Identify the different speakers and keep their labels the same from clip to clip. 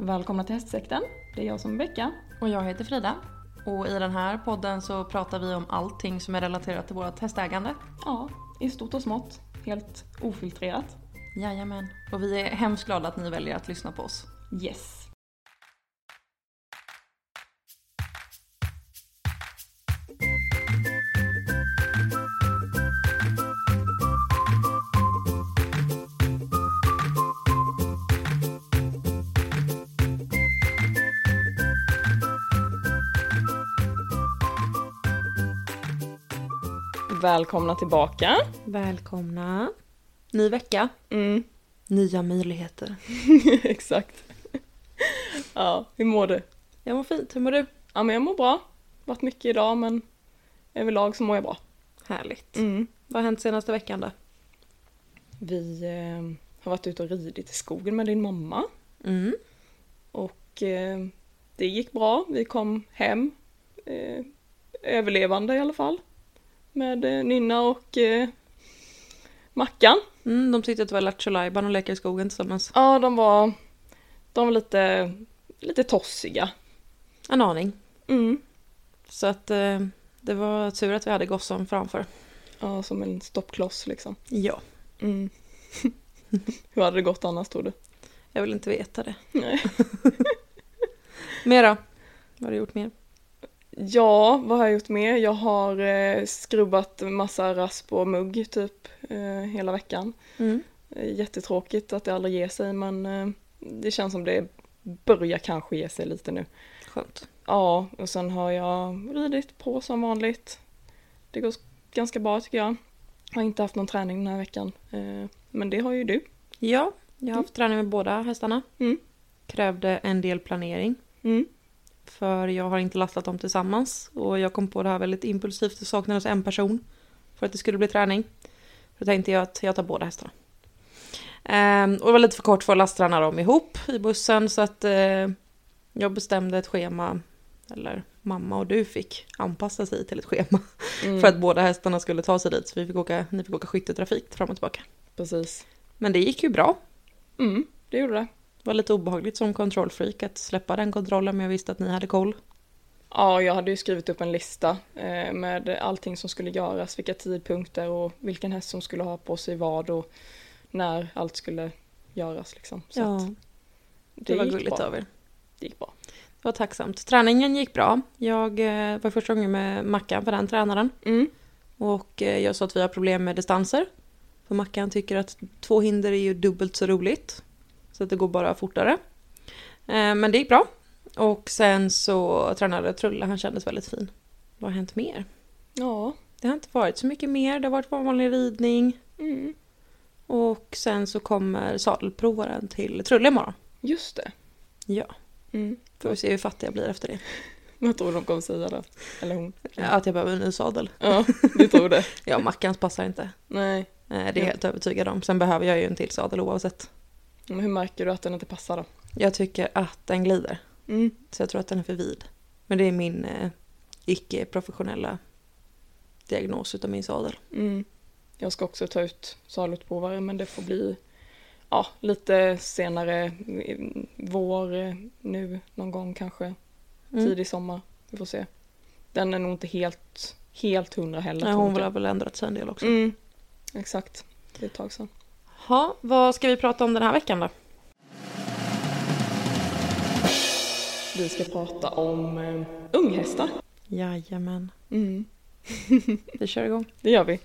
Speaker 1: Välkomna till hästsekten. Det är jag som är Becka.
Speaker 2: Och jag heter Frida. Och i den här podden så pratar vi om allting som är relaterat till vårt hästägande.
Speaker 1: Ja, i stort och smått. Helt ofiltrerat.
Speaker 2: Jajamän. Och vi är hemskt glada att ni väljer att lyssna på oss.
Speaker 1: Yes. Välkomna tillbaka.
Speaker 2: Välkomna. Ny vecka,
Speaker 1: Mm,
Speaker 2: nya möjligheter.
Speaker 1: exakt. ja, hur mår du?
Speaker 2: Jag mår fint, hur mår du?
Speaker 1: Ja, men jag mår bra. Varit mycket idag, men överlag så mår jag bra.
Speaker 2: Härligt. Mm.
Speaker 1: Mm.
Speaker 2: Vad har hänt senaste veckan då?
Speaker 1: Vi eh, har varit ute och ridit i skogen med din mamma
Speaker 2: Mm.
Speaker 1: och eh, det gick bra. Vi kom hem eh, överlevande i alla fall med eh, Nynna och eh, Mackan.
Speaker 2: Mm, de tyckte att det var Lattjo Lajban och leka i skogen tillsammans.
Speaker 1: Ja, de var, de var lite, lite tossiga.
Speaker 2: En aning.
Speaker 1: Mm.
Speaker 2: Så att eh, det var tur att vi hade Gosson framför.
Speaker 1: Ja, som en stoppkloss liksom.
Speaker 2: Ja.
Speaker 1: Mm. Hur hade det gått annars tror du?
Speaker 2: Jag vill inte veta det.
Speaker 1: Nej.
Speaker 2: Mer då? Vad har du gjort mer?
Speaker 1: Ja, vad har jag gjort mer? Jag har eh, skrubbat massa rasp och mugg typ eh, hela veckan.
Speaker 2: Mm.
Speaker 1: Eh, Jättetråkigt att det aldrig ger sig men eh, det känns som det börjar kanske ge sig lite nu.
Speaker 2: Skönt.
Speaker 1: Ja, och sen har jag ridit på som vanligt. Det går ganska bra tycker jag. Har inte haft någon träning den här veckan. eh, Men det har ju du.
Speaker 2: Ja, jag har haft träning med båda hästarna.
Speaker 1: Mm.
Speaker 2: Krävde en del planering.
Speaker 1: Mm.
Speaker 2: För jag har inte lastat dem tillsammans. Och jag kom på det här väldigt impulsivt. Det saknades en person. För att det skulle bli träning. Då tänkte jag att jag tar båda hästarna. Ehm, och det var lite för kort för att lastträna dem ihop i bussen. Så att eh, jag bestämde ett schema. Eller mamma och du fick anpassa sig till ett schema.
Speaker 1: Mm.
Speaker 2: För att båda hästarna skulle ta sig dit. Så vi fick åka, ni fick åka skytteltrafik fram och tillbaka.
Speaker 1: Precis.
Speaker 2: Men det gick ju bra.
Speaker 1: Mm, det gjorde det.
Speaker 2: Det var lite obehagligt som kontrollfreak att släppa den kontrollen. Men jag visste att ni hade koll.
Speaker 1: Ja, jag hade ju skrivit upp en lista eh, med allting som skulle göras, vilka tidpunkter och vilken häst som skulle ha på sig vad och när allt skulle göras liksom. Så att
Speaker 2: Så det, det var
Speaker 1: gick
Speaker 2: gulligt
Speaker 1: bra.
Speaker 2: av er.
Speaker 1: Det gick bra.
Speaker 2: Det var tacksamt. Träningen gick bra. Jag eh, var första gången med Mackan för den tränaren.
Speaker 1: Mm.
Speaker 2: Och eh, jag sa att vi har problem med distanser. För Mackan tycker att två hinder är ju dubbelt så roligt. Så att det går bara fortare. Eh, men det gick bra. Och sen så tränade Trulle, han kändes väldigt fin. Vad har hänt mer?
Speaker 1: Ja.
Speaker 2: Det har inte varit så mycket mer. Det har varit vanlig ridning.
Speaker 1: Mm.
Speaker 2: Och sen så kommer sadelprovaren till Trulle imorgon.
Speaker 1: Just det.
Speaker 2: Ja,
Speaker 1: Mm.
Speaker 2: får vi se hur fattig jag blir efter det.
Speaker 1: Vad tror du de kommer säga då? Eller hon?
Speaker 2: Att jag behöver en ny sadel.
Speaker 1: Ja, du tror det?
Speaker 2: Ja, Mackans passar inte.
Speaker 1: Nej.
Speaker 2: Eh, Det är
Speaker 1: Ja.
Speaker 2: jag helt övertygad om. Sen behöver jag ju en till sadel oavsett.
Speaker 1: Men hur märker du att den inte passar då?
Speaker 2: Jag tycker att den glider,
Speaker 1: Mm.
Speaker 2: så jag tror att den är för vid. Men det är min eh, icke-professionella diagnos utav min sadel.
Speaker 1: Mm. Jag ska också ta ut salutprovare men det får bli ja, lite senare i vår eh, nu någon gång kanske.
Speaker 2: Mm.
Speaker 1: Tidig sommar. Vi får se. Den är nog inte helt, helt hundra heller.
Speaker 2: Nej,
Speaker 1: tror
Speaker 2: hon
Speaker 1: inte.
Speaker 2: har väl ändrat sig en del också.
Speaker 1: mm. Exakt. Det är ett tag sedan.
Speaker 2: Ha, vad ska vi prata om den här veckan då?
Speaker 1: Vi ska prata om eh, unghästar.
Speaker 2: Jajamän,
Speaker 1: Mm.
Speaker 2: vi kör igång.
Speaker 1: Det gör vi.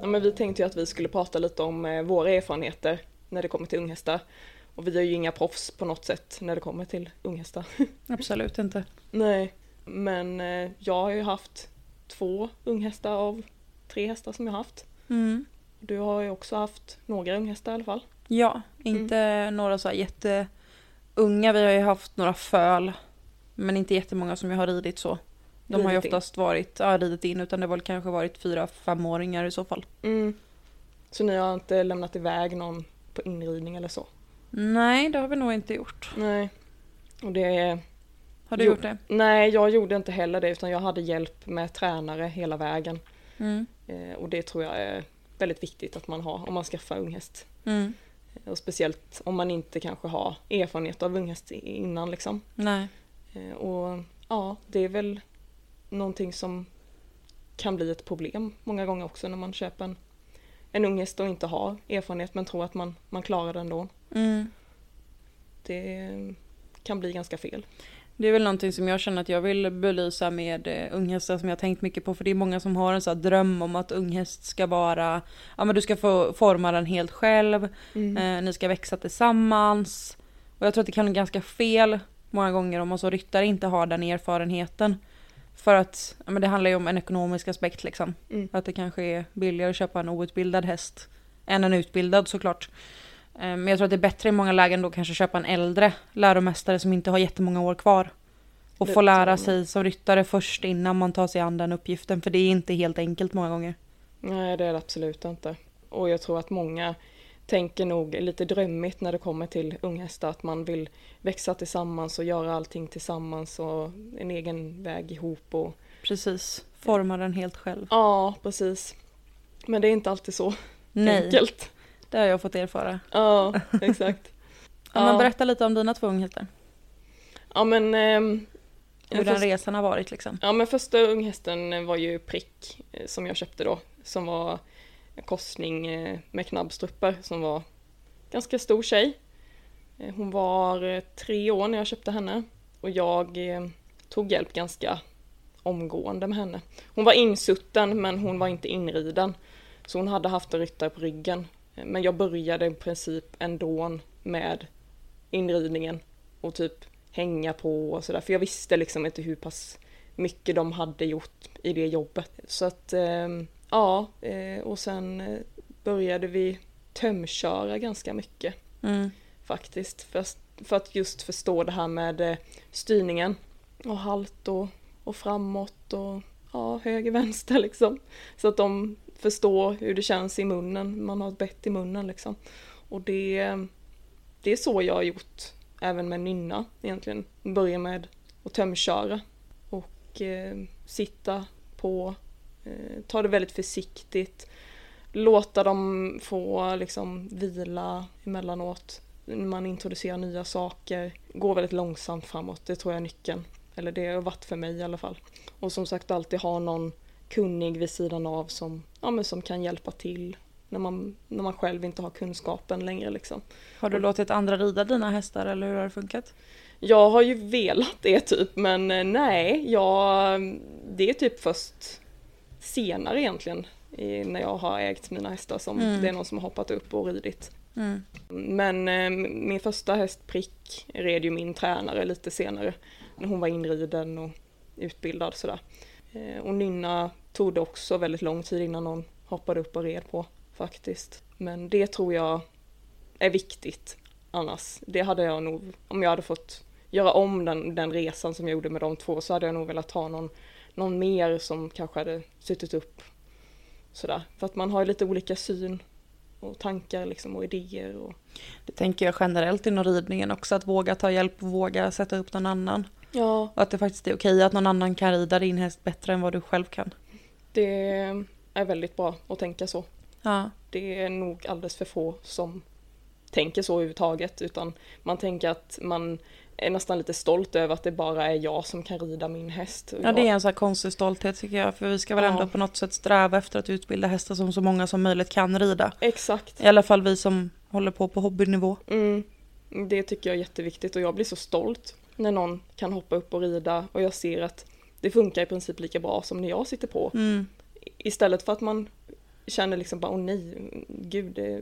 Speaker 1: Ja, men vi tänkte ju att vi skulle prata lite om eh, våra erfarenheter när det kommer till unghästar. Och vi är ju inga proffs på något sätt när det kommer till unghästar.
Speaker 2: Absolut inte.
Speaker 1: Nej, men eh, jag har ju haft två unghästar av tre hästar som jag haft.
Speaker 2: Mm.
Speaker 1: Du har ju också haft några unghästar i alla fall.
Speaker 2: Ja,
Speaker 1: Mm.
Speaker 2: inte några så här jätteunga. Vi har ju haft några föl, men inte jättemånga som jag har ridit så. De har ju
Speaker 1: Ridit in.
Speaker 2: oftast varit, ja, ridit in, utan det har väl kanske varit fyra, femåringar i så fall.
Speaker 1: Mm. Så ni har inte lämnat iväg någon på inridning eller så?
Speaker 2: Nej, det har vi nog inte gjort.
Speaker 1: Nej. Och det är...
Speaker 2: Har du
Speaker 1: Jo.
Speaker 2: gjort det?
Speaker 1: Nej, jag gjorde inte heller det utan jag hade hjälp med tränare hela vägen.
Speaker 2: Mm.
Speaker 1: Eh, och det tror jag är väldigt viktigt att man har om man skaffar unghäst.
Speaker 2: Mm.
Speaker 1: Och speciellt om man inte kanske har erfarenhet av unghäst innan liksom.
Speaker 2: Nej.
Speaker 1: Eh, Och ja, det är väl någonting som kan bli ett problem många gånger också när man köper en, en unghäst och inte har erfarenhet men tror att man, man klarar den då.
Speaker 2: Mm.
Speaker 1: Det kan bli ganska fel.
Speaker 2: Det är väl någonting som jag känner att jag vill belysa med eh, unghästar som jag har tänkt mycket på. För det är många som har en sån här dröm om att unghäst ska vara, ja men du ska få forma den helt själv.
Speaker 1: Mm.
Speaker 2: Eh, ni ska växa tillsammans. Och jag tror att det kan bli ganska fel många gånger om man som ryttare inte har den erfarenheten. För att ja, men det handlar ju om en ekonomisk aspekt liksom.
Speaker 1: Mm.
Speaker 2: Att det kanske är billigare att köpa en outbildad häst än en utbildad såklart. Eh, Men jag tror att det är bättre i många lägen då kanske köpa en äldre läromästare som inte har jättemånga år kvar. Och
Speaker 1: Det
Speaker 2: få lära
Speaker 1: tror jag.
Speaker 2: sig som ryttare först innan man tar sig an den uppgiften. För det är inte helt enkelt många gånger.
Speaker 1: Nej, det är det absolut inte. Och jag tror att många tänker nog lite drömmigt när det kommer till unghästar att man vill växa tillsammans och göra allting tillsammans och en egen väg ihop och
Speaker 2: Precis, forma den helt själv.
Speaker 1: ja, precis. Men det är inte alltid så
Speaker 2: Nej,
Speaker 1: enkelt.
Speaker 2: det har jag fått erfara.
Speaker 1: Ja, exakt.
Speaker 2: Ja, men
Speaker 1: Ja.
Speaker 2: berätta lite om dina två unghästar.
Speaker 1: Ja, men ehm,
Speaker 2: Hur den
Speaker 1: först-
Speaker 2: resan har varit liksom.
Speaker 1: Ja men första unghästen var ju prick eh, som jag köpte då. Som var en korsning eh, med knabbstruppar som var ganska stor tjej. Eh, Hon var eh, tre år när jag köpte henne och jag eh, tog hjälp ganska omgående med henne. Hon var insutten men hon var inte inriden. Så hon hade haft en ryttare på ryggen. Eh, Men jag började i princip ändå med inridningen och typ hänga på och sådär. För jag visste liksom inte hur pass mycket de hade gjort i det jobbet. Så att, eh, ja, eh, och sen eh, började vi tömköra ganska mycket
Speaker 2: Mm.
Speaker 1: faktiskt. För, för att just förstå det här med eh, styrningen och halt och, och framåt och ja, höger, vänster liksom. Så att de förstår hur det känns i munnen, man har ett bett i munnen liksom. Och det, det är så jag har gjort även med nynna egentligen. Börja med att tömköra och eh, sitta på, eh, ta det väldigt försiktigt. Låta dem få liksom vila emellanåt när man introducerar nya saker, går väldigt långsamt framåt, det tror jag är nyckeln. Eller det har varit för mig i alla fall. Och som sagt alltid ha någon kunnig vid sidan av som, ja, men som kan hjälpa till när man, när man själv inte har kunskapen längre. Liksom.
Speaker 2: Har du låtit andra rida dina hästar eller hur har det funkat?
Speaker 1: Jag har ju velat det typ, men eh, nej, jag, det är typ först senare egentligen i, när jag har ägt mina hästar som
Speaker 2: Mm.
Speaker 1: det är någon som har hoppat upp och ridit.
Speaker 2: Mm.
Speaker 1: Men eh, min första häst Prick red ju min tränare lite senare. När hon var inriden och utbildad sådär. Eh, och Nynna tog det också väldigt lång tid innan någon hoppade upp och red på faktiskt. Men det tror jag är viktigt annars. Det hade jag nog, om jag hade fått göra om den, den resan som jag gjorde med de två så hade jag nog velat ha någon, någon mer som kanske hade suttit upp sådär. För att man har ju lite olika syn och tankar liksom och idéer och
Speaker 2: Det tänker jag generellt inom ridningen också, att våga ta hjälp och våga sätta upp någon annan.
Speaker 1: Ja,
Speaker 2: Och att det faktiskt är okej att någon annan kan rida din häst bättre än vad du själv kan.
Speaker 1: det är väldigt bra att tänka så.
Speaker 2: Ja,
Speaker 1: Det är nog alldeles för få som tänker så överhuvudtaget utan man tänker att man är nästan lite stolt över att det bara är jag som kan rida min häst. Och
Speaker 2: ja det
Speaker 1: jag-
Speaker 2: är en sån här konstig stolthet tycker jag, för vi ska väl
Speaker 1: Ja.
Speaker 2: ändå på något sätt sträva efter att utbilda hästar som så många som möjligt kan rida.
Speaker 1: Exakt.
Speaker 2: I alla fall vi som håller på på hobbynivå.
Speaker 1: Mm. Det tycker jag är jätteviktigt och jag blir så stolt när någon kan hoppa upp och rida och jag ser att det funkar i princip lika bra som när jag sitter på.
Speaker 2: Mm.
Speaker 1: Istället för att man känner liksom bara åh nej, gud, det-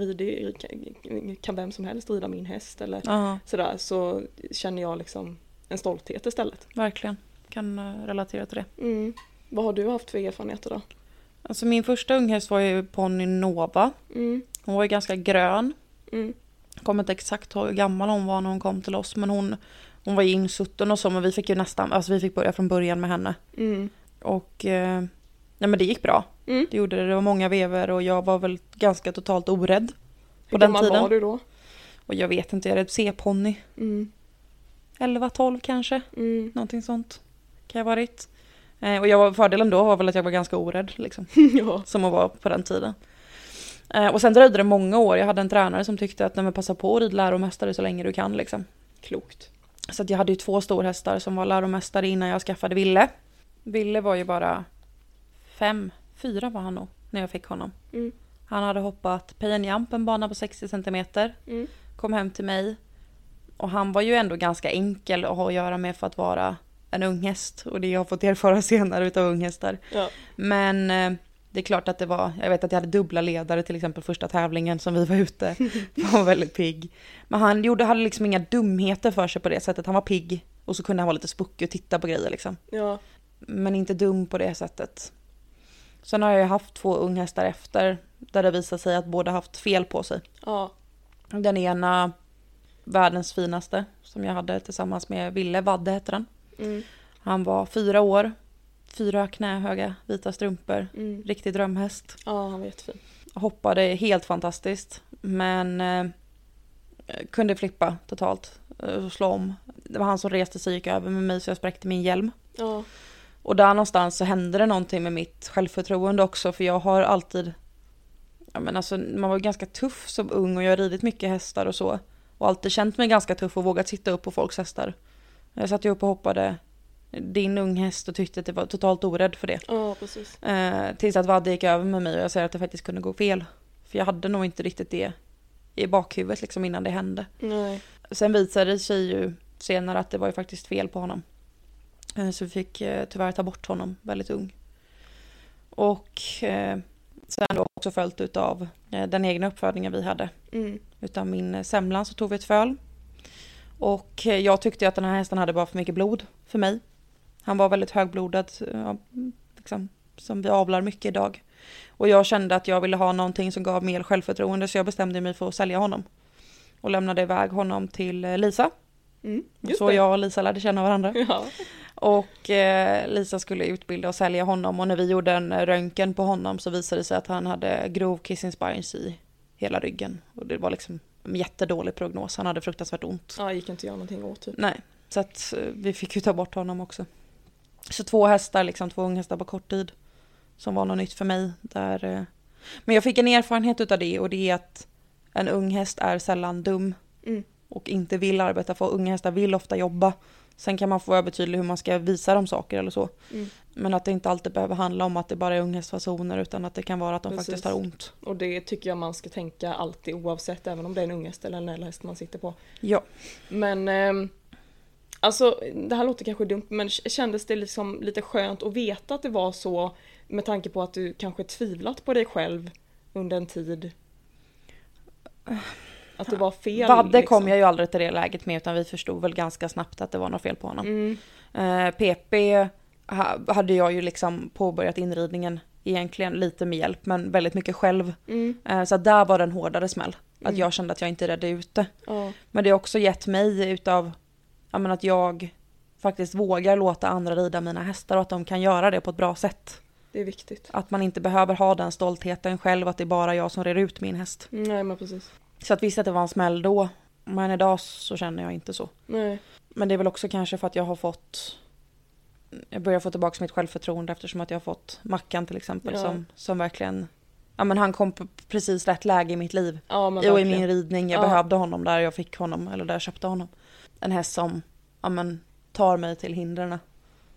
Speaker 1: rider, kan- kan vem som helst rida min häst eller
Speaker 2: Ja,
Speaker 1: sådär så känner jag liksom en stolthet istället.
Speaker 2: verkligen. Kan eh, relatera till det.
Speaker 1: Mm. Vad har du haft för erfarenheter då?
Speaker 2: Alltså min första unghäst var ju ponny Nova.
Speaker 1: Mm.
Speaker 2: Hon var ju ganska grön.
Speaker 1: Mm.
Speaker 2: Jag kommer inte exakt ihåg hur gammal hon var när hon kom till oss men hon, hon var ju insutten och så men vi fick ju nästan, alltså vi fick börja från början med henne.
Speaker 1: Mm.
Speaker 2: Och eh, nej men det gick bra.
Speaker 1: Mm.
Speaker 2: Det gjorde det, det var många vever och jag var väl ganska totalt orädd. På
Speaker 1: Hur
Speaker 2: den
Speaker 1: gammal
Speaker 2: tiden.
Speaker 1: var du då?
Speaker 2: Och jag vet inte, jag är ett C-ponny.
Speaker 1: Mm.
Speaker 2: 11-12 kanske,
Speaker 1: Mm.
Speaker 2: någonting sånt. Kan jag ha varit. Eh, och jag var, fördelen då var väl att jag var ganska orädd liksom.
Speaker 1: ja.
Speaker 2: Som hon var på den tiden. Eh, och sen dröjde det många år. Jag hade en tränare som tyckte att nej, men passa på att rida läromästare så länge du kan liksom.
Speaker 1: Klokt.
Speaker 2: Så att jag hade ju två storhästar som var läromästare innan jag skaffade Ville. Ville var ju bara fem, fyra var han nog när jag fick honom.
Speaker 1: Mm.
Speaker 2: Han hade hoppat pay and jump en bana på 60 centimeter.
Speaker 1: Mm.
Speaker 2: Kom hem till mig. Och han var ju ändå ganska enkel att ha att göra med för att vara en ung häst. Och det jag har fått erfara senare utav unghästar.
Speaker 1: Ja.
Speaker 2: Men eh, det är klart att det var, jag vet att jag hade dubbla ledare till exempel första tävlingen som vi var ute. Han var väldigt pigg. Men han gjorde, hade liksom inga dumheter för sig på det sättet. Han var pigg och så kunde han vara lite spuckig och titta på grejer liksom.
Speaker 1: Ja.
Speaker 2: Men inte dum på det sättet. Sen har jag ju haft två unghästar efter där det visar sig att båda haft fel på sig.
Speaker 1: Ja.
Speaker 2: Den ena, världens finaste, som jag hade tillsammans med Ville, Vadde heter han.
Speaker 1: Mm.
Speaker 2: Han var fyra år, fyra knähöga vita strumpor,
Speaker 1: Mm.
Speaker 2: riktig drömhäst.
Speaker 1: ja, han var jättefin.
Speaker 2: hoppade helt fantastiskt. Men eh, kunde flippa totalt eh, och slå om. Det var han som reste sig och gick över med mig så jag spräckte min hjälm.
Speaker 1: Ja.
Speaker 2: Och där någonstans så hände det någonting med mitt självförtroende också för jag har alltid... Ja men alltså man var ganska tuff som ung och jag har ridit mycket hästar och så. Och alltid känt mig ganska tuff och vågat sitta upp på folks hästar. Jag satt ju upp och hoppade din ung häst och tyckte att jag var totalt orädd för det.
Speaker 1: ja, precis.
Speaker 2: Eh, tills att Vadde gick över med mig och jag säger att det faktiskt kunde gå fel. För jag hade nog inte riktigt det i bakhuvudet liksom innan det hände.
Speaker 1: Nej.
Speaker 2: Sen visade det sig ju senare att det var ju faktiskt fel på honom. Eh, så vi fick eh, tyvärr ta bort honom väldigt ung. Och eh, sen då också följt utav eh, den egna uppfödningen vi hade.
Speaker 1: Mm.
Speaker 2: Utav min eh, semlan så tog vi ett föl. Och eh, jag tyckte att den här hästen hade bara för mycket blod för mig. Han var väldigt högblodad, eh, ja, liksom, som vi avlar mycket idag. Och jag kände att jag ville ha någonting som gav mer självförtroende så jag bestämde mig för att sälja honom. Och lämnade iväg honom till eh, Lisa.
Speaker 1: Mm.
Speaker 2: Och
Speaker 1: Just
Speaker 2: så
Speaker 1: det.
Speaker 2: jag och Lisa lärde känna varandra.
Speaker 1: Ja.
Speaker 2: Och eh, Lisa skulle utbilda och sälja honom och när vi gjorde en röntgen på honom så visade det sig att han hade grov kissing spines i hela ryggen. Och det var liksom en jättedålig prognos, han hade fruktansvärt ont.
Speaker 1: Ja, gick inte att göra någonting åt typ.
Speaker 2: Nej, så att eh, vi fick ju ta bort honom också. Så två hästar, liksom två unghästar på kort tid. Som var något nytt för mig. Där, eh, men jag fick en erfarenhet utav det och det är att en ung häst är sällan dum
Speaker 1: Mm.
Speaker 2: och inte vill arbeta för unga hästar vill ofta jobba. Sen kan man få vara betydlig hur man ska visa dem saker eller så.
Speaker 1: Mm.
Speaker 2: Men att det inte alltid behöver handla om att det bara är unghästfasoner utan att det kan vara att de
Speaker 1: Precis.
Speaker 2: faktiskt har ont.
Speaker 1: Och det tycker jag man ska tänka alltid oavsett, även om det är en unghäst eller en äldre häst man sitter på.
Speaker 2: Ja.
Speaker 1: Men ehm, alltså, det här låter kanske dumt, men k- kändes det liksom lite skönt att veta att det var så med tanke på att du kanske tvivlat på dig själv under en tid? Att det var fel?
Speaker 2: Vadde kom
Speaker 1: liksom.
Speaker 2: jag ju aldrig till det läget med utan vi förstod väl ganska snabbt att det var något fel på honom.
Speaker 1: Mm,
Speaker 2: Eh, PP ha- hade jag ju liksom påbörjat inridningen egentligen lite med hjälp men väldigt mycket själv.
Speaker 1: mm,
Speaker 2: Eh, så att där var det en hårdare smäll.
Speaker 1: Mm.
Speaker 2: Att jag kände att jag inte räddade ute.
Speaker 1: ja,
Speaker 2: Men det har också gett mig utav ja, men att jag faktiskt vågar låta andra rida mina hästar och att de kan göra det på ett bra sätt.
Speaker 1: det är viktigt.
Speaker 2: Att man inte behöver ha den stoltheten själv att det är bara jag som reder ut min häst.
Speaker 1: Mm, Nej, men precis.
Speaker 2: Så att visst att det var en smäll då, men idag så känner jag inte så.
Speaker 1: Nej,
Speaker 2: Men det är väl också kanske för att jag har fått jag börjar få tillbaka mitt självförtroende eftersom att jag har fått Mackan till exempel
Speaker 1: Ja.
Speaker 2: som, som verkligen Ja men han kom på precis rätt läge i mitt liv.
Speaker 1: ja men
Speaker 2: Jo, i
Speaker 1: verkligen.
Speaker 2: min ridning. Jag
Speaker 1: Ja.
Speaker 2: behövde honom där jag fick honom, eller där jag köpte honom. En häst som ja, men, tar mig till hindren. Eh,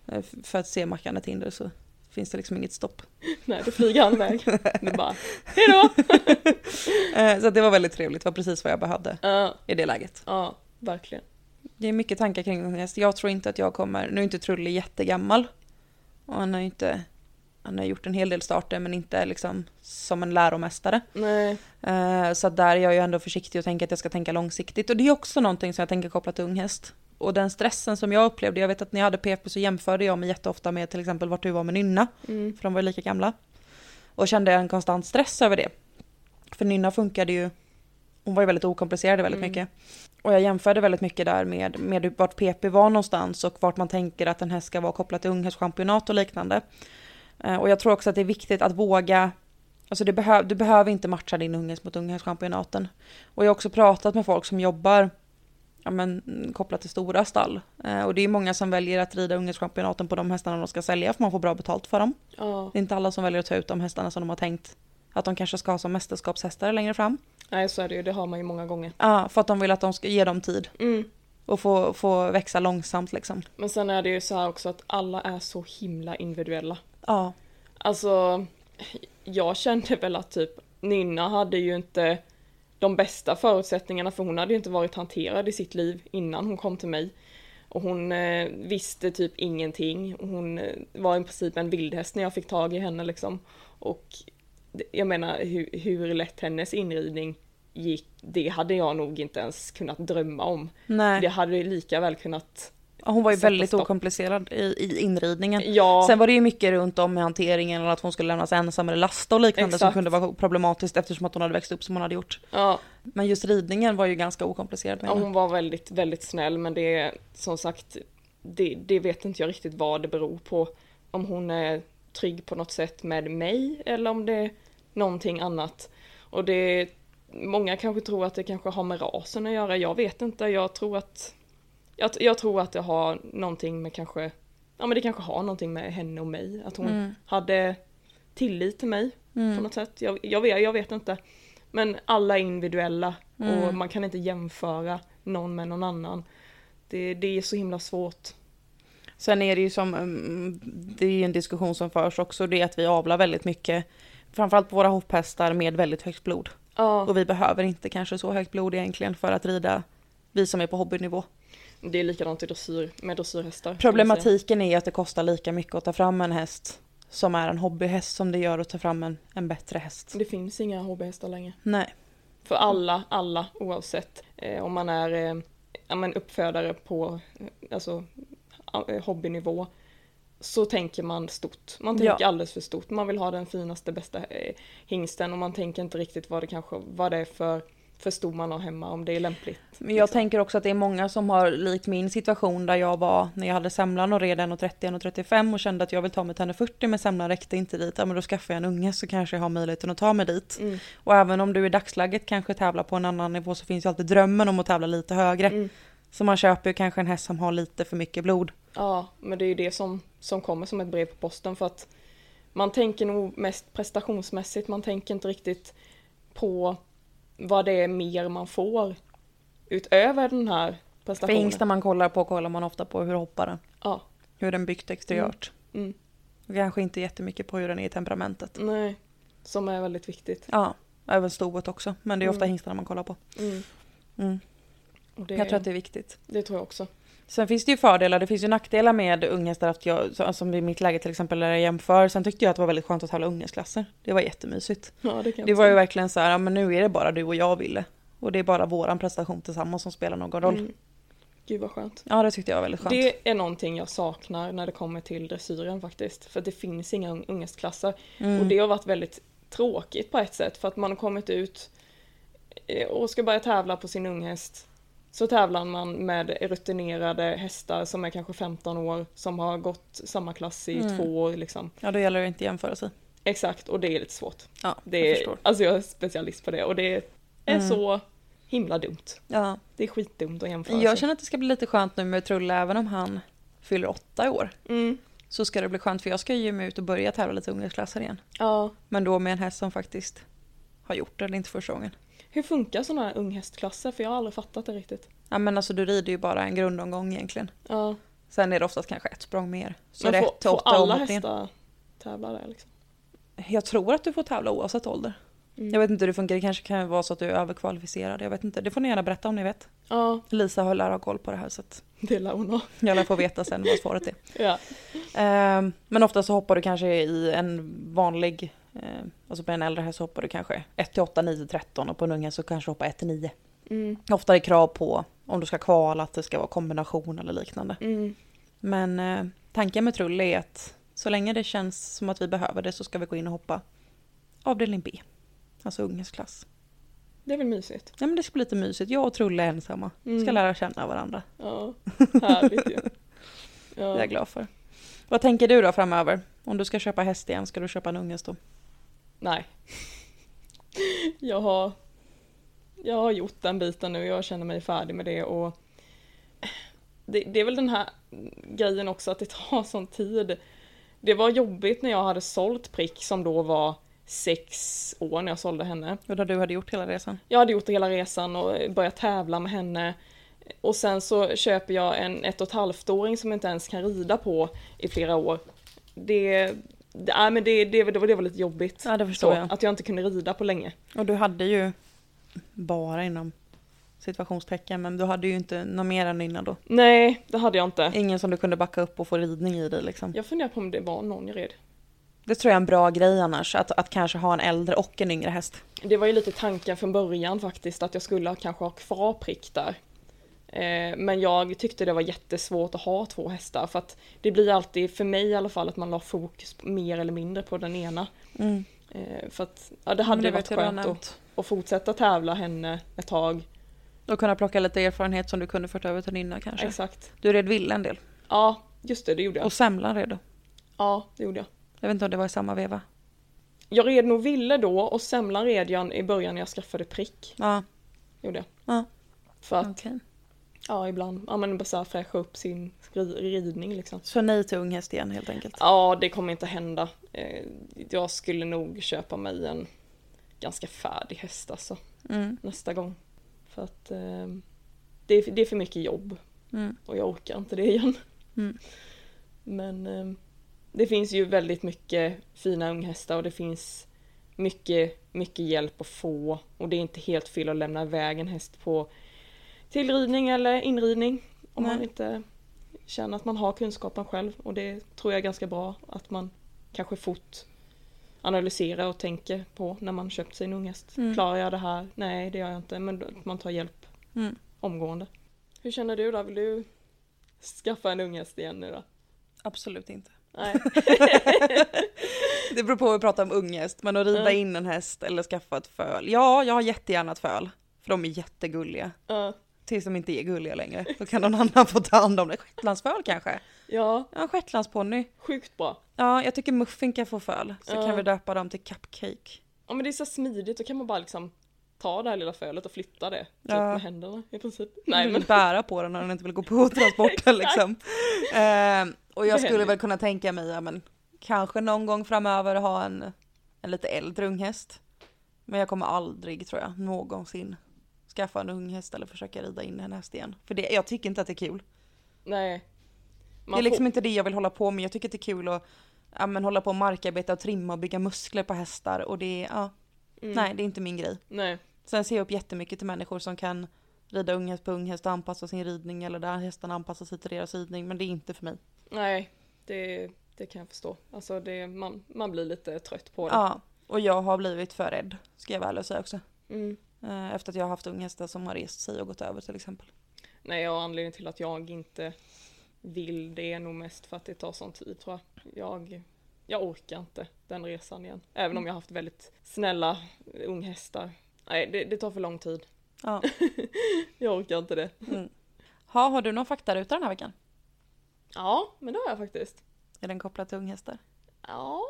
Speaker 2: f- För att se Mackan ett hinder så finns det liksom inget stopp.
Speaker 1: Nej, då flyger han iväg. Du bara, hejdå!
Speaker 2: Eh, Så att det var väldigt trevligt, det var precis vad jag behövde
Speaker 1: Ja,
Speaker 2: i det läget.
Speaker 1: ja, verkligen.
Speaker 2: Det är mycket tankar kring den häst. Jag tror inte att jag kommer, nu är inte Trulle jättegammal. Och han har ju inte, han har gjort en hel del starter men inte liksom som en läromästare.
Speaker 1: Nej,
Speaker 2: Eh, Så att där är jag ju ändå försiktig och tänker att jag ska tänka långsiktigt. Och det är också någonting som jag tänker kopplat till unghäst. Och den stressen som jag upplevde, jag vet att när jag hade PP så jämförde jag mig jätteofta med till exempel vart du var med Nynna,
Speaker 1: mm,
Speaker 2: för de var ju lika gamla. Och kände en konstant stress över det. För Nynna funkade ju, hon var ju väldigt okomplicerad väldigt
Speaker 1: Mm.
Speaker 2: mycket. Och jag jämförde väldigt mycket där med, med vart PP var någonstans och vart man tänker att en häst ska vara kopplad till unghästchampionat och liknande. Eh, Och jag tror också att det är viktigt att våga Alltså det behö- du behöver inte matcha din unghäst mot unghästchampionaten. Och jag har också pratat med folk som jobbar ja men, mm, kopplat till stora stall. Eh, och det är många som väljer att rida unghästchampionaten på de hästarna de ska sälja för man får bra betalt för dem.
Speaker 1: ja,
Speaker 2: Det är inte alla som väljer att ta ut de hästarna som de har tänkt Att de kanske ska ha som mästerskapshästar längre fram.
Speaker 1: Nej, så är det ju. Det har man ju många gånger. Mm.
Speaker 2: Ja, för att de vill att de ska ge dem tid och få, få växa långsamt liksom.
Speaker 1: Men sen är det ju så här också att alla är så himla individuella.
Speaker 2: Ja,
Speaker 1: Alltså, jag kände väl att typ Nynna hade ju inte de bästa förutsättningarna för hon hade ju inte varit hanterad i sitt liv innan hon kom till mig. Och hon eh, visste typ ingenting. Och Hon eh, var i princip en vildhäst när jag fick tag i henne liksom. Och det- jag menar hur, hur lätt hennes inridning gick, det hade jag nog inte ens kunnat drömma om.
Speaker 2: nej.
Speaker 1: Det hade ju lika väl kunnat,
Speaker 2: Ja, Hon var ju
Speaker 1: Sätta
Speaker 2: väldigt
Speaker 1: stopp.
Speaker 2: okomplicerad i, i inridningen.
Speaker 1: ja.
Speaker 2: Sen var det ju mycket runt om med hanteringen och att hon skulle lämnas ensam eller lasta och liknande som
Speaker 1: Exakt.
Speaker 2: kunde vara problematiskt eftersom att hon hade växt upp som hon hade gjort.
Speaker 1: ja.
Speaker 2: Men just ridningen var ju ganska okomplicerad.
Speaker 1: Ja,
Speaker 2: menar jag.
Speaker 1: hon var väldigt, väldigt snäll men det är som sagt, det, det vet inte jag riktigt vad det beror på. Om hon är trygg på något sätt med mig eller om det är någonting annat. Och det, många kanske tror att det kanske har med rasen att göra, jag vet inte, jag tror att jag, jag tror att det har någonting med kanske, ja men det kanske har någonting med henne och mig, att hon
Speaker 2: Mm.
Speaker 1: hade tillit till mig på något sätt. Jag, jag, vet, jag vet inte. Men alla är individuella och man kan inte jämföra någon med någon annan. Det, det är så himla svårt.
Speaker 2: Sen är det ju som, mm, det är ju en diskussion som förs också, det är att vi avlar väldigt mycket. Framförallt på våra hopphästar med väldigt högt blod.
Speaker 1: Ja,
Speaker 2: Och vi behöver inte kanske så högt blod egentligen för att rida, vi som är på hobbynivå.
Speaker 1: det är likadant i dressyr, med dressyrhästar. kan man säga.
Speaker 2: Problematiken är att det kostar lika mycket att ta fram en häst som är en hobbyhäst som det gör att ta fram en, en bättre häst.
Speaker 1: Det finns inga hobbyhästar längre.
Speaker 2: Nej.
Speaker 1: För alla, alla oavsett eh, om man är eh, ja, men uppfödare på eh, alltså, a- eh, hobbynivå så tänker man stort. Man tänker
Speaker 2: Ja.
Speaker 1: alldeles för stort. Man vill ha den finaste, bästa eh, hingsten och man tänker inte riktigt vad det kanske vad det är för, för stor man har hemma, om det är lämpligt.
Speaker 2: Men jag tänker också att det är många som har likt min situation där jag var när jag hade semlan och red 1,30 och 35 och kände att jag vill ta mig till 1,40 men semlan räckte inte dit. Ja men då skaffar jag en unge så kanske jag har möjligheten att ta mig dit.
Speaker 1: Mm.
Speaker 2: Och även om du i dagsläget kanske tävlar på en annan nivå så finns ju alltid drömmen om att tävla lite högre.
Speaker 1: Mm.
Speaker 2: Så man köper ju kanske en häst som har lite för mycket blod.
Speaker 1: Ja, men det är ju det som, som kommer som ett brev på posten för att man tänker nog mest prestationsmässigt, man tänker inte riktigt på vad det är mer man får utöver den här
Speaker 2: För
Speaker 1: prestationen.
Speaker 2: hingsten man kollar på kollar man ofta på hur hoppar den.
Speaker 1: Ja,
Speaker 2: Hur den byggt exteriört.
Speaker 1: mm,
Speaker 2: Och kanske inte jättemycket på hur den är i temperamentet.
Speaker 1: nej, som är väldigt viktigt.
Speaker 2: Ja, även stoet också. Men det är ofta
Speaker 1: Mm.
Speaker 2: hingstarna man kollar på.
Speaker 1: Mm,
Speaker 2: Mm.
Speaker 1: och det,
Speaker 2: Jag tror att det är viktigt.
Speaker 1: det tror jag också.
Speaker 2: Sen finns det ju fördelar, det finns ju nackdelar med unghästar. Att jag, så- som i mitt läge till exempel när jag jämför. Sen tyckte jag att det var väldigt skönt att tävla unghästklasser. Det var jättemysigt.
Speaker 1: Ja, det kan jag
Speaker 2: Det var ju
Speaker 1: förstå.
Speaker 2: verkligen så här, ja, men nu är det bara du och jag ville. Och det är bara våran prestation tillsammans som spelar någon roll.
Speaker 1: Mm. Gud vad skönt.
Speaker 2: Ja det tyckte jag var väldigt skönt.
Speaker 1: Det är någonting jag saknar när det kommer till dressyren faktiskt. För det finns inga ung- unghästklasser.
Speaker 2: Mm.
Speaker 1: Och det har varit väldigt tråkigt på ett sätt för att man har kommit ut eh, och ska börja tävla på sin unghäst. Så tävlar man med rutinerade hästar som är kanske 15 år som har gått samma klass i
Speaker 2: Mm.
Speaker 1: två år liksom.
Speaker 2: Ja då gäller det att inte jämföra sig.
Speaker 1: Exakt, och det är lite svårt.
Speaker 2: Ja,
Speaker 1: Det
Speaker 2: jag
Speaker 1: är,
Speaker 2: förstår.
Speaker 1: alltså jag är specialist på det och det är
Speaker 2: Mm.
Speaker 1: så himla dumt.
Speaker 2: Ja.
Speaker 1: Det är skitdumt att jämföra
Speaker 2: Jag
Speaker 1: sig.
Speaker 2: känner att det ska bli lite skönt nu med Trulle även om han fyller åtta i år.
Speaker 1: Mm.
Speaker 2: Så ska det bli skönt för jag ska ju ge mig ut och börja tävla lite unghästklasser igen.
Speaker 1: Ja.
Speaker 2: Men då med en häst som faktiskt har gjort det, det är inte första gången.
Speaker 1: Hur funkar sådana här unghästklasser? För jag har aldrig fattat det riktigt.
Speaker 2: Ja men alltså du rider ju bara en grundomgång egentligen.
Speaker 1: Ja.
Speaker 2: Sen är det oftast kanske ett språng mer. Så
Speaker 1: Men
Speaker 2: det är
Speaker 1: får,
Speaker 2: ett till
Speaker 1: får
Speaker 2: åtta
Speaker 1: alla
Speaker 2: omhoppningen.
Speaker 1: hästar tävla där liksom?
Speaker 2: Jag tror att du får tävla oavsett ålder.
Speaker 1: Mm.
Speaker 2: Jag vet inte hur det funkar, det kanske kan vara så att du är överkvalificerad. Jag vet inte, det får ni gärna berätta om ni vet.
Speaker 1: Ja,
Speaker 2: Lisa har lär ha koll på det här så att
Speaker 1: det lär hon ha.
Speaker 2: jag lär få veta sen vad svaret är.
Speaker 1: Ja.
Speaker 2: Ehm, men ofta så hoppar du kanske i en vanlig, eh, alltså på en äldre häst så hoppar du kanske 1 till 8, 9 till 13 och på en unge så kanske du hoppar 1 till 9.
Speaker 1: Mm.
Speaker 2: Ofta är det krav på om du ska kvala att det ska vara kombination eller liknande.
Speaker 1: Mm.
Speaker 2: Men eh, tanken med Trulle är att så länge det känns som att vi behöver det så ska vi gå in och hoppa avdelning B. Alltså unghästklass.
Speaker 1: Det är väl mysigt?
Speaker 2: Ja men det ska bli lite mysigt. Jag och Trulle är ensamma.
Speaker 1: Mm.
Speaker 2: Ska lära känna varandra.
Speaker 1: Ja, härligt ju.
Speaker 2: Det är
Speaker 1: Ja.
Speaker 2: jag glad för. Vad tänker du då framöver? Om du ska köpa häst igen, ska du köpa en unghäst då?
Speaker 1: Nej. Jag har, jag har gjort den biten nu, jag känner mig färdig med det och det, det är väl den här grejen också att det tar sån tid. Det var jobbigt när jag hade sålt prick som då var sex år när jag sålde henne.
Speaker 2: Och då du hade gjort hela resan?
Speaker 1: Jag hade gjort hela resan och börjat tävla med henne. Och sen så köper jag en ett och ett halvt-åring som jag inte ens kan rida på i flera år. Det, det, nej, men det, det, det, var, det var lite jobbigt.
Speaker 2: Ja, det förstår
Speaker 1: så,
Speaker 2: jag.
Speaker 1: Att jag inte kunde rida på länge.
Speaker 2: Och du hade ju, bara inom situationstecken, men du hade ju inte någon mer än innan då.
Speaker 1: Nej, det hade jag inte.
Speaker 2: Ingen som du kunde backa upp och få ridning i dig liksom.
Speaker 1: Jag funderar på om det var någon jag red.
Speaker 2: Det tror jag är en bra grej annars, att, att kanske ha en äldre och en yngre häst.
Speaker 1: Det var ju lite tanken från början faktiskt, att jag skulle ha- kanske ha kvar prick där. Eh, Men jag tyckte det var jättesvårt att ha två hästar för att det blir alltid, för mig i alla fall, att man la fokus på- mer eller mindre på den ena.
Speaker 2: Mm.
Speaker 1: Eh, För att ja, det hade
Speaker 2: det
Speaker 1: ju varit
Speaker 2: vet jag du har
Speaker 1: skönt
Speaker 2: nämnt.
Speaker 1: att, att fortsätta tävla henne ett tag.
Speaker 2: Och kunna plocka lite erfarenhet som du kunde fört över till Nynna kanske.
Speaker 1: Exakt.
Speaker 2: Du red Ville en del.
Speaker 1: Ja, just det, det gjorde jag.
Speaker 2: Och Semlan red du.
Speaker 1: Ja, det gjorde jag.
Speaker 2: Jag vet inte om det var i samma veva.
Speaker 1: Jag red nog Ville då och Semlan red jag i början när jag skaffade prick.
Speaker 2: Ja,
Speaker 1: Gjorde jag.
Speaker 2: ja Mm.
Speaker 1: För att,
Speaker 2: okej.
Speaker 1: ja ibland, ja men bara så här fräscha upp sin ri- ridning liksom.
Speaker 2: Så nej till ung häst igen helt enkelt.
Speaker 1: Ja, det kommer inte hända. Eh, Jag skulle nog köpa mig en ganska färdig häst alltså,
Speaker 2: Mm,
Speaker 1: nästa gång. För att eh, det är, det är för mycket jobb
Speaker 2: mm,
Speaker 1: och jag orkar inte det igen.
Speaker 2: Mm.
Speaker 1: Men eh, det finns ju väldigt mycket fina unghästar och det finns mycket, mycket hjälp att få och det är inte helt fel att lämna iväg en häst på tillridning eller inridning om
Speaker 2: Nej.
Speaker 1: man inte känner att man har kunskapen själv och det tror jag är ganska bra att man kanske fort analyserar och tänker på när man köpt sin unghäst.
Speaker 2: Mm.
Speaker 1: Klarar jag det här? Nej, det gör jag inte, men att man tar hjälp
Speaker 2: mm.
Speaker 1: omgående. Hur känner du då? Vill du skaffa en unghäst igen nu då?
Speaker 2: Absolut inte.
Speaker 1: Nej.
Speaker 2: Det beror på vad vi pratar om unghäst, men att rida
Speaker 1: Mm.
Speaker 2: in en häst eller skaffa ett föl. Ja, jag har jättegärna ett föl, för de är jättegulliga.
Speaker 1: Ja.
Speaker 2: Tills de inte är gulliga längre, då kan någon annan få ta hand om det. Shetlandsföl kanske?
Speaker 1: ja,
Speaker 2: Ja, shetlandsponny.
Speaker 1: sjukt bra.
Speaker 2: Ja, jag tycker Muffin kan få föl, så
Speaker 1: Ja.
Speaker 2: kan vi döpa dem till Cupcake.
Speaker 1: Ja men det är så smidigt, då kan man bara liksom ta det här lilla fölet och flytta det. Typ
Speaker 2: Ja.
Speaker 1: med händerna i princip.
Speaker 2: Nej,
Speaker 1: Nej men
Speaker 2: Mm. Bära på den när den inte vill gå på transporten liksom. Ehm, och jag
Speaker 1: Det
Speaker 2: skulle
Speaker 1: händer.
Speaker 2: väl kunna tänka mig, ja, men kanske någon gång framöver ha en, en lite äldre unghäst. Men jag kommer aldrig, tror jag, någonsin skaffa en unghäst eller försöka rida in en häst igen. För det, jag tycker inte att det är kul.
Speaker 1: nej. Man
Speaker 2: det är liksom
Speaker 1: får,
Speaker 2: inte det jag vill hålla på med. Jag tycker att det är kul att ja, men, hålla på och markarbeta och trimma och bygga muskler på hästar. Och det är, ja,
Speaker 1: Mm.
Speaker 2: nej, det är inte min grej.
Speaker 1: nej.
Speaker 2: Sen ser jag upp jättemycket till människor som kan rida unghäst på unghäst och anpassa sin ridning eller där hästarna anpassar sig till deras ridning. Men det är inte för mig.
Speaker 1: Nej, det, det kan jag förstå. Alltså det, man, man blir lite trött på det.
Speaker 2: Ja, och jag har blivit för rädd, ska jag väl säga också.
Speaker 1: Mm.
Speaker 2: Eh, Efter att jag har haft unghästar som har rest sig och gått över till exempel.
Speaker 1: Nej och anledningen till att jag inte vill det är nog mest för att det tar sån tid tror jag. Jag, jag orkar inte den resan igen. Även om jag har haft väldigt snälla unghästar. Nej det, det tar för lång tid.
Speaker 2: Ja. mm.
Speaker 1: Jag orkar inte det.
Speaker 2: Ha, har du någon faktaruta den här veckan?
Speaker 1: Ja men det har jag faktiskt.
Speaker 2: Är den kopplad till unghästar?
Speaker 1: Ja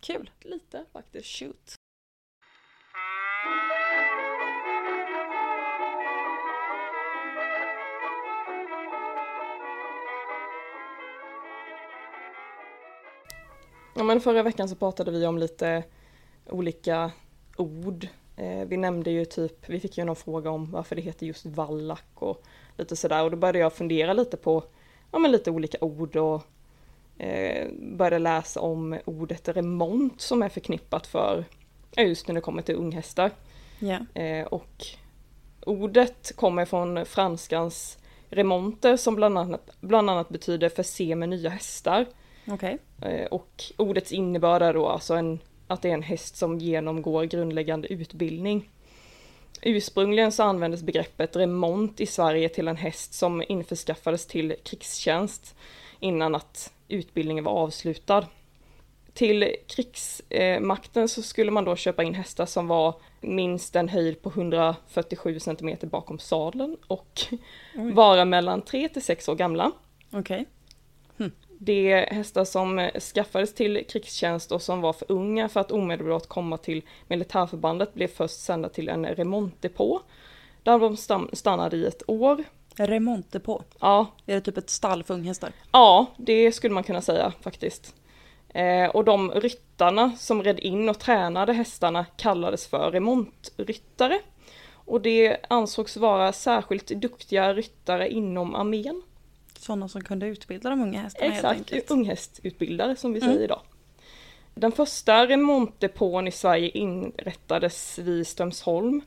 Speaker 2: Kul!
Speaker 1: lite faktiskt.
Speaker 2: Shoot!
Speaker 1: Ja, men förra veckan så pratade vi om lite olika ord. Eh, vi nämnde ju typ, vi fick ju någon fråga om varför det heter just vallack och lite sådär och då började jag fundera lite på ja, men lite olika ord och eh, började läsa om ordet remont som är förknippat för ja, just när det kommer till unghästar.
Speaker 2: Ja.
Speaker 1: Eh, och ordet kommer från franskans remonter som bland annat, bland annat betyder förse med nya hästar.
Speaker 2: Okej.
Speaker 1: Eh, Och ordets innebörd är då alltså en, att det är en häst som genomgår grundläggande utbildning. Ursprungligen så användes begreppet remont i Sverige till en häst som införskaffades till krigstjänst innan att utbildningen var avslutad. Till krigsmakten så skulle man då köpa in hästar som var minst en höjd på 147 cm bakom sadeln och
Speaker 2: Oj.
Speaker 1: vara mellan 3 till 6 år gamla.
Speaker 2: Okej.
Speaker 1: Det är hästar som eh, skaffades till krigstjänst och som var för unga för att omedelbart komma till militärförbandet blev först sända till en remontdepå. Där de stam- stannade i ett år.
Speaker 2: Remonte på.
Speaker 1: Ja,
Speaker 2: Är det typ ett stall för unghästar?
Speaker 1: ja, det skulle man kunna säga faktiskt. Eh, Eh, och de ryttarna som red in och tränade hästarna kallades för remontryttare. Och det ansågs vara särskilt duktiga ryttare inom armén.
Speaker 2: Sådana som kunde utbilda de unga hästarna helt
Speaker 1: Exakt,
Speaker 2: enkelt.
Speaker 1: unghästutbildare som vi
Speaker 2: Mm.
Speaker 1: säger idag. Den första remontdepån i Sverige inrättades vid Strömsholm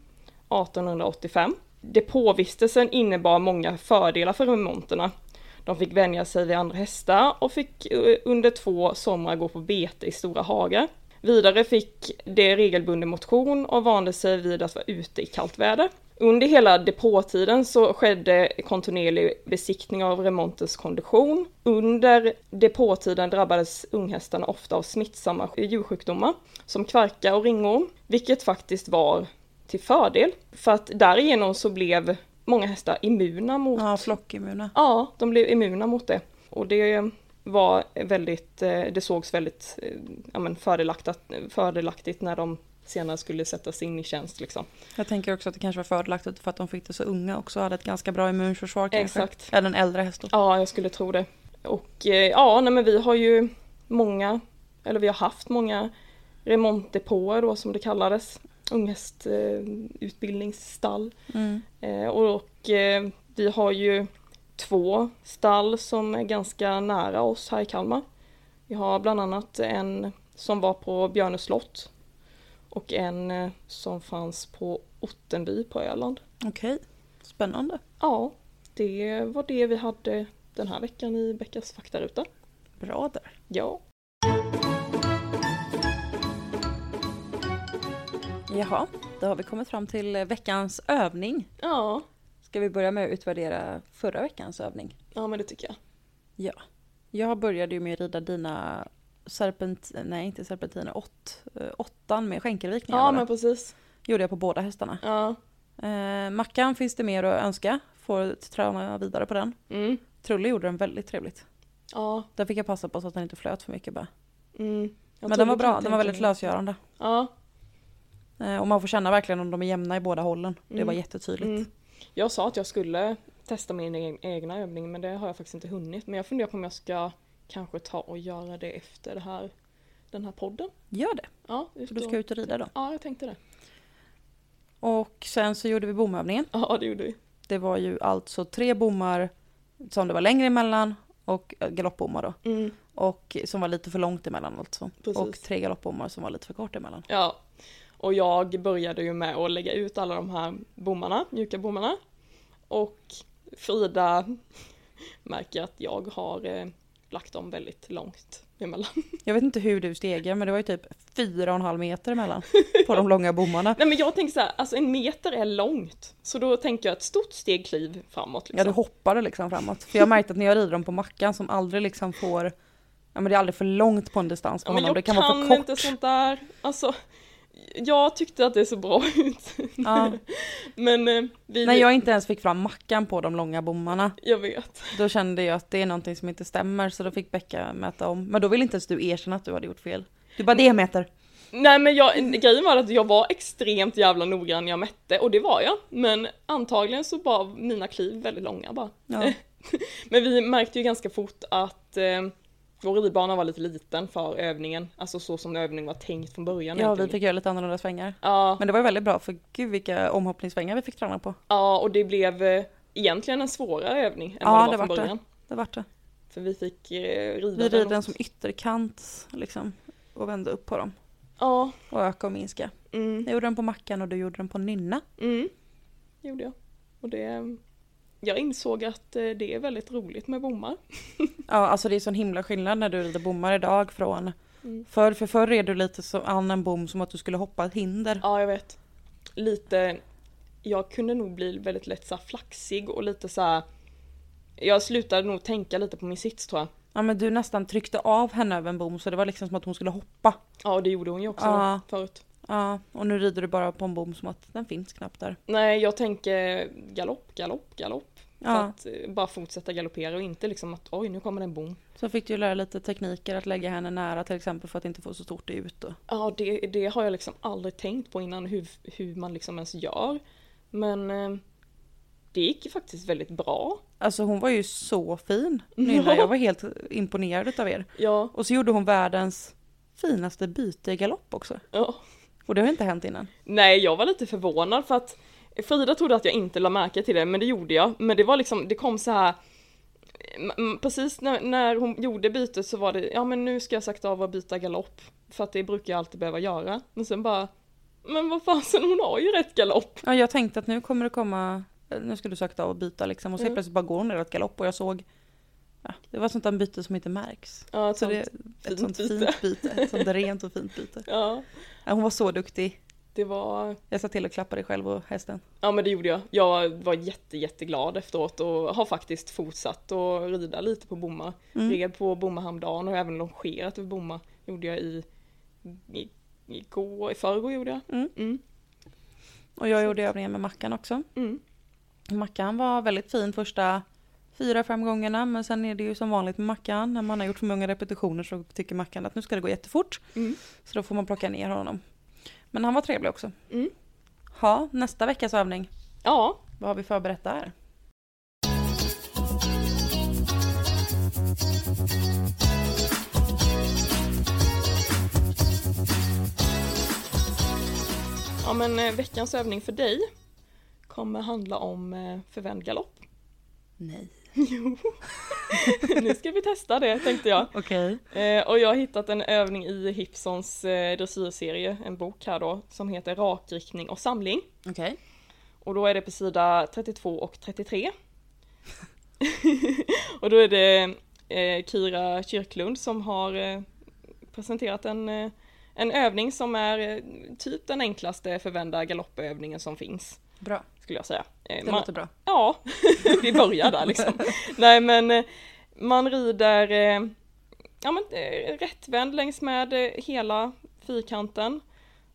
Speaker 1: 1885. Depåvistelsen innebar många fördelar för remonterna. De fick vänja sig vid andra hästar och fick eh, under två somrar gå på bete i stora hagar. Vidare fick de regelbunden motion och vande sig vid att vara ute i kallt väder. Under hela depåtiden så skedde kontinuerlig besiktning av remontens kondition. Under depåtiden drabbades unghästarna ofta av smittsamma djursjukdomar som kvarka och ringorm, vilket faktiskt var till fördel. För att därigenom så blev många hästar immuna mot
Speaker 2: Ja, flockimmuna.
Speaker 1: Ja, de blev immuna mot det. Och det var väldigt, eh, det sågs väldigt eh, ja, men fördelaktigt, fördelaktigt när de senare skulle sättas in i tjänst. Liksom.
Speaker 2: Jag tänker också att det kanske var fördelaktigt för att de fick det så unga också och hade ett ganska bra immunförsvar kanske.
Speaker 1: Exakt.
Speaker 2: Eller en äldre häst då.
Speaker 1: Ja, jag skulle tro det. Och eh, ja, nej, men vi har ju många, eller vi har haft många remontdepåer då som det kallades. Unghästutbildningsstall.
Speaker 2: Mm.
Speaker 1: Eh, och eh, vi har ju två stall som är ganska nära oss här i Kalmar. Vi har bland annat en som var på Björne slott och en eh, som fanns på Ottenby på Öland.
Speaker 2: Okej, spännande.
Speaker 1: Ja, det var det vi hade den här veckan i Beckas faktaruta.
Speaker 2: Bra där.
Speaker 1: Ja,
Speaker 2: Jaha, då har vi kommit fram till eh, veckans övning.
Speaker 1: ja,
Speaker 2: Ska vi börja med att utvärdera förra veckans övning?
Speaker 1: ja men det tycker jag.
Speaker 2: Ja. Jag började ju med att rida dina serpent... Nej, inte serpentiner. Ått, eh, åttan med skänkelvikningar.
Speaker 1: Ja,
Speaker 2: var det.
Speaker 1: men precis.
Speaker 2: Gjorde jag på båda hästarna.
Speaker 1: Ja,
Speaker 2: Eh, Mackan finns det mer att önska. Får träna vidare på den.
Speaker 1: mm.
Speaker 2: Trulle gjorde den väldigt trevligt.
Speaker 1: ja,
Speaker 2: Där fick jag passa på så att den inte flöt för mycket bara.
Speaker 1: mm. Jag tror
Speaker 2: Men den var
Speaker 1: du
Speaker 2: bra,
Speaker 1: kan
Speaker 2: den
Speaker 1: tänka
Speaker 2: var väldigt
Speaker 1: mig.
Speaker 2: lösgörande.
Speaker 1: Ja,
Speaker 2: Eh, Och man får känna verkligen om de är jämna i båda hållen. Det
Speaker 1: Mm.
Speaker 2: var jättetydligt.
Speaker 1: Mm. Jag sa att jag skulle testa min e- egna övning men det har jag faktiskt inte hunnit. Men jag funderar på om jag ska kanske ta och göra det efter det här, den här podden.
Speaker 2: Gör det,
Speaker 1: Ja,
Speaker 2: för
Speaker 1: ut
Speaker 2: du
Speaker 1: och...
Speaker 2: ska ut och rida då.
Speaker 1: ja, jag tänkte det.
Speaker 2: Och sen så gjorde vi bomövningen.
Speaker 1: Ja, det gjorde vi.
Speaker 2: Det var ju alltså tre bommar som det var längre emellan och eh, galoppbommar då.
Speaker 1: Mm,
Speaker 2: Och som var lite för långt emellan alltså.
Speaker 1: Precis.
Speaker 2: Och tre galoppbommar som var lite för kort emellan.
Speaker 1: ja. Och jag började ju med att lägga ut alla de här bommarna, mjuka bommarna. Och Frida märker att jag har eh, lagt dem väldigt långt emellan.
Speaker 2: Jag vet inte hur du stegar men det var ju typ fyra och en halv meter emellan på de långa bommarna.
Speaker 1: Nej men jag tänker så här, alltså en meter är långt. Så då tänker jag ett stort steg kliv framåt.
Speaker 2: Ja, du hoppade liksom framåt. För jag märkte att när jag rider dem på Mackan som aldrig liksom får... Ja men det är aldrig för långt på en distans på
Speaker 1: Ja, men
Speaker 2: honom.
Speaker 1: jag
Speaker 2: Det
Speaker 1: kan,
Speaker 2: kan, vara för
Speaker 1: inte
Speaker 2: kort.
Speaker 1: sånt där. Alltså, jag tyckte att det såg bra ut.
Speaker 2: Ja.
Speaker 1: Men eh, vi,
Speaker 2: När jag inte ens fick fram Mackan på de långa bommarna.
Speaker 1: jag vet.
Speaker 2: Då kände jag att det är någonting som inte stämmer så då fick Becka mäta om. Men då ville inte ens du erkänna att du hade gjort fel. Du bara det meter.
Speaker 1: Nej men jag, grejen var att jag var extremt jävla noggrann när jag mätte och det var jag. Men antagligen så var mina kliv väldigt långa bara.
Speaker 2: Ja.
Speaker 1: Men vi märkte ju ganska fort att eh, vår ridbana var lite liten för övningen. Alltså så som övningen var tänkt från början.
Speaker 2: ja, vi
Speaker 1: egentligen.
Speaker 2: fick göra lite annorlunda svängar.
Speaker 1: ja,
Speaker 2: Men det var ju väldigt bra för gud vilka omhoppningssvängar vi fick träna på.
Speaker 1: ja, och det blev eh, egentligen en svårare övning än
Speaker 2: Ja,
Speaker 1: vad det var
Speaker 2: det
Speaker 1: från
Speaker 2: vart det.
Speaker 1: början.
Speaker 2: Det vart det.
Speaker 1: För vi fick eh, rida
Speaker 2: Vi rider
Speaker 1: den
Speaker 2: den
Speaker 1: åt-
Speaker 2: som ytterkant liksom. Och vände upp på dem.
Speaker 1: Ja,
Speaker 2: Och öka och minska.
Speaker 1: mm,
Speaker 2: Jag gjorde den på Mackan och du gjorde den på Nynna.
Speaker 1: mm, gjorde jag. Och det, jag insåg att eh, det är väldigt roligt med bommar.
Speaker 2: Ja, alltså det är sån himla skillnad när du rider bommar idag från
Speaker 1: Mm.
Speaker 2: förr. För förr red du lite som an en bom som att du skulle hoppa ett hinder.
Speaker 1: Ja, jag vet. Lite, jag kunde nog bli väldigt lätt så här flaxig och lite så här. Jag slutade nog tänka lite på min sits tror jag.
Speaker 2: Ja men du nästan tryckte av henne över en bom så det var liksom som att hon skulle hoppa.
Speaker 1: Ja, och det gjorde hon ju också
Speaker 2: Ja.
Speaker 1: förut.
Speaker 2: Ja, och nu rider du bara på en bom som att den finns knappt där.
Speaker 1: Nej, jag tänker galopp, galopp, galopp. För
Speaker 2: Ja,
Speaker 1: att eh, bara fortsätta galoppera och inte liksom att oj, nu kommer det en bom.
Speaker 2: så fick du ju lära lite tekniker att lägga henne nära till exempel för att inte få så stort ut. Och...
Speaker 1: Ja, det, det har jag liksom aldrig tänkt på innan hur, hur man liksom ens gör. Men eh, det gick ju faktiskt väldigt bra.
Speaker 2: Alltså hon var ju så fin, Nynna. Jag var helt imponerad utav er.
Speaker 1: Ja,
Speaker 2: Och så gjorde hon världens finaste byte i galopp också.
Speaker 1: ja.
Speaker 2: Och det har inte hänt innan.
Speaker 1: Nej, jag var lite förvånad för att Frida trodde att jag inte la märke till det, men det gjorde jag. Men det var liksom, det kom så här m- m- Precis när, när hon gjorde bytet så var det, ja men nu ska jag sakta av och byta galopp. För att det brukar jag alltid behöva göra. Men sen bara, men vad fasen hon har ju rätt galopp.
Speaker 2: Ja, jag tänkte att nu kommer det komma, nu ska du sakta av och byta liksom. Och så helt
Speaker 1: Mm.
Speaker 2: plötsligt bara går hon i ett galopp och jag såg, ja, det var sånt där byte som inte märks.
Speaker 1: Ja,
Speaker 2: Så
Speaker 1: sånt.
Speaker 2: det, ett
Speaker 1: fint
Speaker 2: sånt
Speaker 1: byte.
Speaker 2: fint byte, ett sånt rent och fint byte.
Speaker 1: ja,
Speaker 2: Ja, hon var så duktig.
Speaker 1: det var,
Speaker 2: Jag sa till och klappade själv och hästen.
Speaker 1: ja men det gjorde jag. Jag var jätte, jätteglad efteråt och har faktiskt fortsatt att rida lite på bommar.
Speaker 2: Mm.
Speaker 1: Red på Bommahamndagen och även longerat över Bomma gjorde jag i, i igår, i förrgår gjorde jag.
Speaker 2: Mm.
Speaker 1: Mm.
Speaker 2: Och jag gjorde övningen med Mackan också.
Speaker 1: Mm.
Speaker 2: Mackan var väldigt fin första fyra, fem gångerna men sen är det ju som vanligt med Mackan. När man har gjort för många repetitioner så tycker Mackan att nu ska det gå jättefort.
Speaker 1: Mm.
Speaker 2: Så då får man plocka ner honom. Men han var trevlig också.
Speaker 1: Mm.
Speaker 2: Ja, nästa veckas övning.
Speaker 1: Ja,
Speaker 2: Vad har vi förberett där?
Speaker 1: ja men eh, veckans övning för dig kommer handla om eh, förvänd galopp.
Speaker 2: Nej.
Speaker 1: Jo, nu ska vi testa det tänkte jag.
Speaker 2: Okej.
Speaker 1: Eh, och jag har hittat en övning i Hipsons eh, dressyrserie, en bok här då, som heter Rakriktning och samling.
Speaker 2: Okej.
Speaker 1: Och då är det på sida 32 och 33. och då är det eh, Kira Kyrklund som har eh, presenterat en, eh, en övning som är eh, typ den enklaste förvända galoppövningen som finns,
Speaker 2: Bra.
Speaker 1: skulle jag säga. Eh,
Speaker 2: Det
Speaker 1: man-
Speaker 2: låter bra.
Speaker 1: Ja, vi börjar där liksom. Nej men eh, man rider eh, ja, men, eh, rättvänd längs med eh, hela fyrkanten.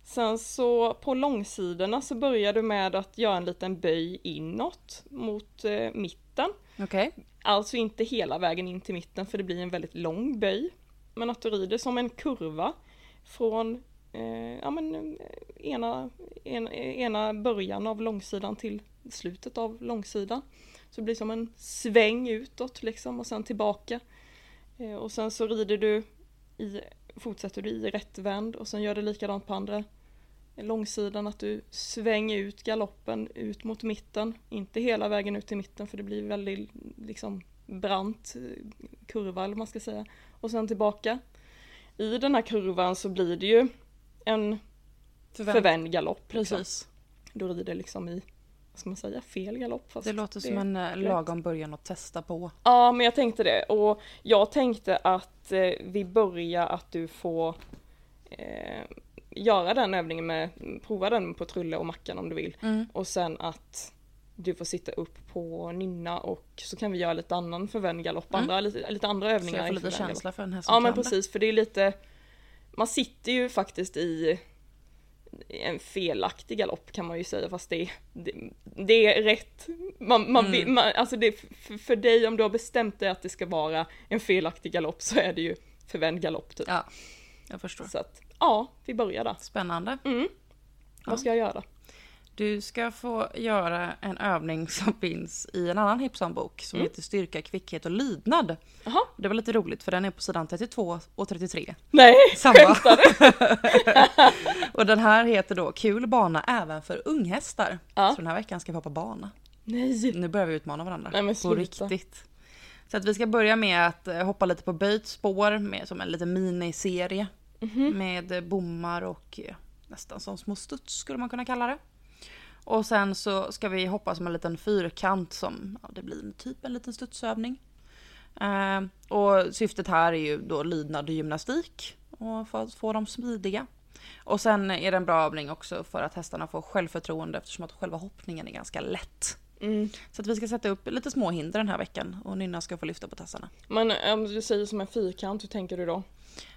Speaker 1: Sen så på långsidorna så börjar du med att göra en liten böj inåt mot eh, mitten.
Speaker 2: Okej.
Speaker 1: Alltså inte hela vägen in till mitten för det blir en väldigt lång böj. Men att du rider som en kurva från eh, ja, men, eh, ena, en, ena början av långsidan till slutet av långsidan. Så det blir som en sväng utåt liksom och sen tillbaka. Eh, och sen så rider du i, fortsätter du i rättvänd och sen gör du likadant på andra långsidan att du svänger ut galoppen ut mot mitten. Inte hela vägen ut till mitten för det blir väldigt liksom brant eh, kurva eller vad man ska säga. Och sen tillbaka. I den här kurvan så blir det ju en förvänd galopp. Liksom.
Speaker 2: Precis.
Speaker 1: Då rider liksom i, vad ska man säga, fel galopp. Fast
Speaker 2: Det låter som en eh, lagom början att testa på.
Speaker 1: Ja, men jag tänkte det. Och jag tänkte att eh, vi börjar att du får eh, göra den övningen med, prova den på Trulle och Mackan om du vill. Och sen att du får sitta upp på Nynna och så kan vi göra lite annan förvänd galopp,
Speaker 2: Mm.
Speaker 1: andra, lite, lite andra
Speaker 2: Så
Speaker 1: övningar.
Speaker 2: jag får
Speaker 1: i
Speaker 2: lite
Speaker 1: förvänd galopp.
Speaker 2: känsla för den här som
Speaker 1: Ja men
Speaker 2: kan det.
Speaker 1: precis, för det är lite Man sitter ju faktiskt i i en felaktig galopp kan man ju säga fast det, det, det är rätt. Man, man,
Speaker 2: Mm.
Speaker 1: vill- man, alltså det, för, för dig om du har bestämt dig att det ska vara en felaktig galopp så är det ju förvänd galopp typ.
Speaker 2: Ja, jag förstår.
Speaker 1: Så att ja, vi börjar där.
Speaker 2: Spännande.
Speaker 1: Mm.
Speaker 2: Ja.
Speaker 1: Vad ska jag göra?
Speaker 2: Du ska få göra en övning som finns i en annan Hipson-bok som
Speaker 1: Mm.
Speaker 2: heter Styrka, kvickhet och lydnad.
Speaker 1: Jaha,
Speaker 2: Det var lite roligt för den är på sidan 32 och 33.
Speaker 1: nej,
Speaker 2: Samma.
Speaker 1: skämtar du?
Speaker 2: Och den här heter då Kul bana även för unghästar.
Speaker 1: Ja.
Speaker 2: Så den här veckan ska vi hoppa bana.
Speaker 1: Nej.
Speaker 2: Nu börjar vi utmana varandra.
Speaker 1: Nej, men
Speaker 2: på
Speaker 1: sluta.
Speaker 2: riktigt. Så att vi ska börja med att eh, hoppa lite på böjt spår med, som en liten miniserie.
Speaker 1: Mhm.
Speaker 2: Med eh, bommar och eh, nästan som små studs skulle man kunna kalla det. Och sen så ska vi hoppa som en liten fyrkant som ja, det blir typ en liten studsövning. Eh, och syftet här är ju då lydnad och gymnastik och för att få dem smidiga. Och sen är det en bra övning också för att hästarna får självförtroende eftersom att själva hoppningen är ganska lätt.
Speaker 1: Mm.
Speaker 2: Så att vi ska sätta upp lite små hinder den här veckan och Nynna ska få lyfta på tassarna.
Speaker 1: Men om du säger som en fyrkant, hur tänker du då?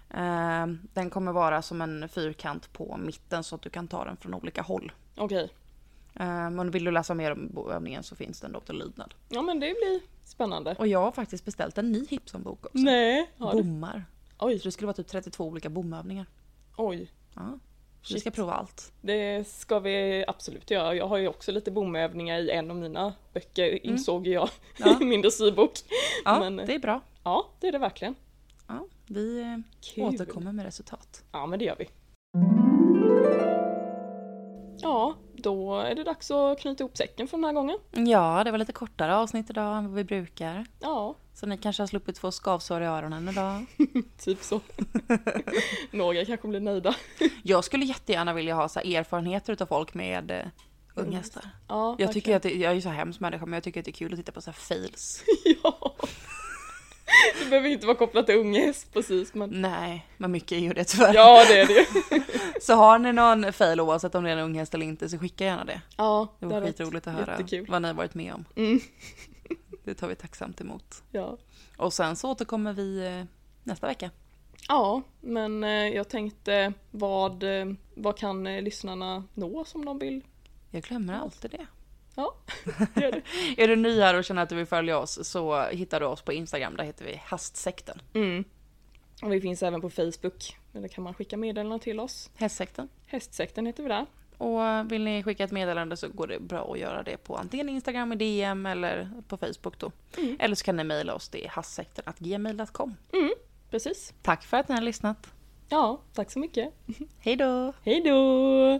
Speaker 2: Eh, den kommer vara som en fyrkant på mitten så att du kan ta den från olika håll.
Speaker 1: Okej,
Speaker 2: Eh, men vill du läsa mer om bo- övningen så finns den då till lydnad.
Speaker 1: ja men det blir spännande.
Speaker 2: Och jag har faktiskt beställt en ny Hipson-bok också.
Speaker 1: Nej, Mm. har du?
Speaker 2: Bommar.
Speaker 1: Oj,
Speaker 2: Så det skulle vara typ 32 olika bomövningar.
Speaker 1: oj.
Speaker 2: Ja. Så vi ska prova allt.
Speaker 1: Det ska vi absolut göra. Jag har ju också lite bomövningar i en av mina böcker, insåg jag
Speaker 2: Mm. Ja.
Speaker 1: i min dressyrbok.
Speaker 2: Ja,
Speaker 1: Men- eh,
Speaker 2: det är bra.
Speaker 1: Ja, det är det verkligen.
Speaker 2: Ja, vi eh,
Speaker 1: Kul.
Speaker 2: återkommer med resultat.
Speaker 1: Ja, men det gör vi. Ja, då är det dags att knyta ihop säcken för den här gången.
Speaker 2: Ja, det var lite kortare avsnitt idag än vad vi brukar.
Speaker 1: Ja,
Speaker 2: Så ni kanske har sluppit få skavsår i öronen idag.
Speaker 1: typ så. Några kanske blir nöjda.
Speaker 2: Jag skulle jättegärna vilja ha så här erfarenheter av folk med eh, unghästar.
Speaker 1: Mm. Ja,
Speaker 2: Jag, tycker
Speaker 1: verkligen.
Speaker 2: att det, jag är ju så hemsk människa men jag tycker att det är kul att titta på så här fails.
Speaker 1: Ja. Det behöver ju inte vara kopplat till unge häst precis, men
Speaker 2: Nej, men mycket är ju det tyvärr.
Speaker 1: ja, det är det ju.
Speaker 2: Så har ni någon fail oavsett om det är en unghäst eller inte så skicka gärna det.
Speaker 1: Ja,
Speaker 2: Det
Speaker 1: där
Speaker 2: var
Speaker 1: har-
Speaker 2: skitroligt att höra
Speaker 1: jättekul.
Speaker 2: vad ni har varit med om.
Speaker 1: Mm.
Speaker 2: Det tar vi tacksamt emot.
Speaker 1: Ja.
Speaker 2: Och sen så återkommer vi eh, nästa vecka.
Speaker 1: ja, men eh, jag tänkte vad, eh, vad kan eh, lyssnarna nå som de vill?
Speaker 2: Jag glömmer
Speaker 1: Mm.
Speaker 2: alltid det.
Speaker 1: Ja, gör det.
Speaker 2: Är du ny här och känner att du vill följa oss så hittar du oss på Instagram. Där heter vi Hästsekten.
Speaker 1: Mm. Och vi finns även på Facebook. Där kan man skicka meddelanden till oss.
Speaker 2: Hästsekten.
Speaker 1: Hästsekten heter vi där.
Speaker 2: Och vill ni skicka ett meddelande så går det bra att göra det på antingen Instagram i DM eller på Facebook då. Eller så kan ni mejla oss, det är hastsekten.gmail.com.
Speaker 1: Precis.
Speaker 2: Tack för att ni har lyssnat.
Speaker 1: Ja, tack så mycket.
Speaker 2: Hej då!
Speaker 1: Hej då!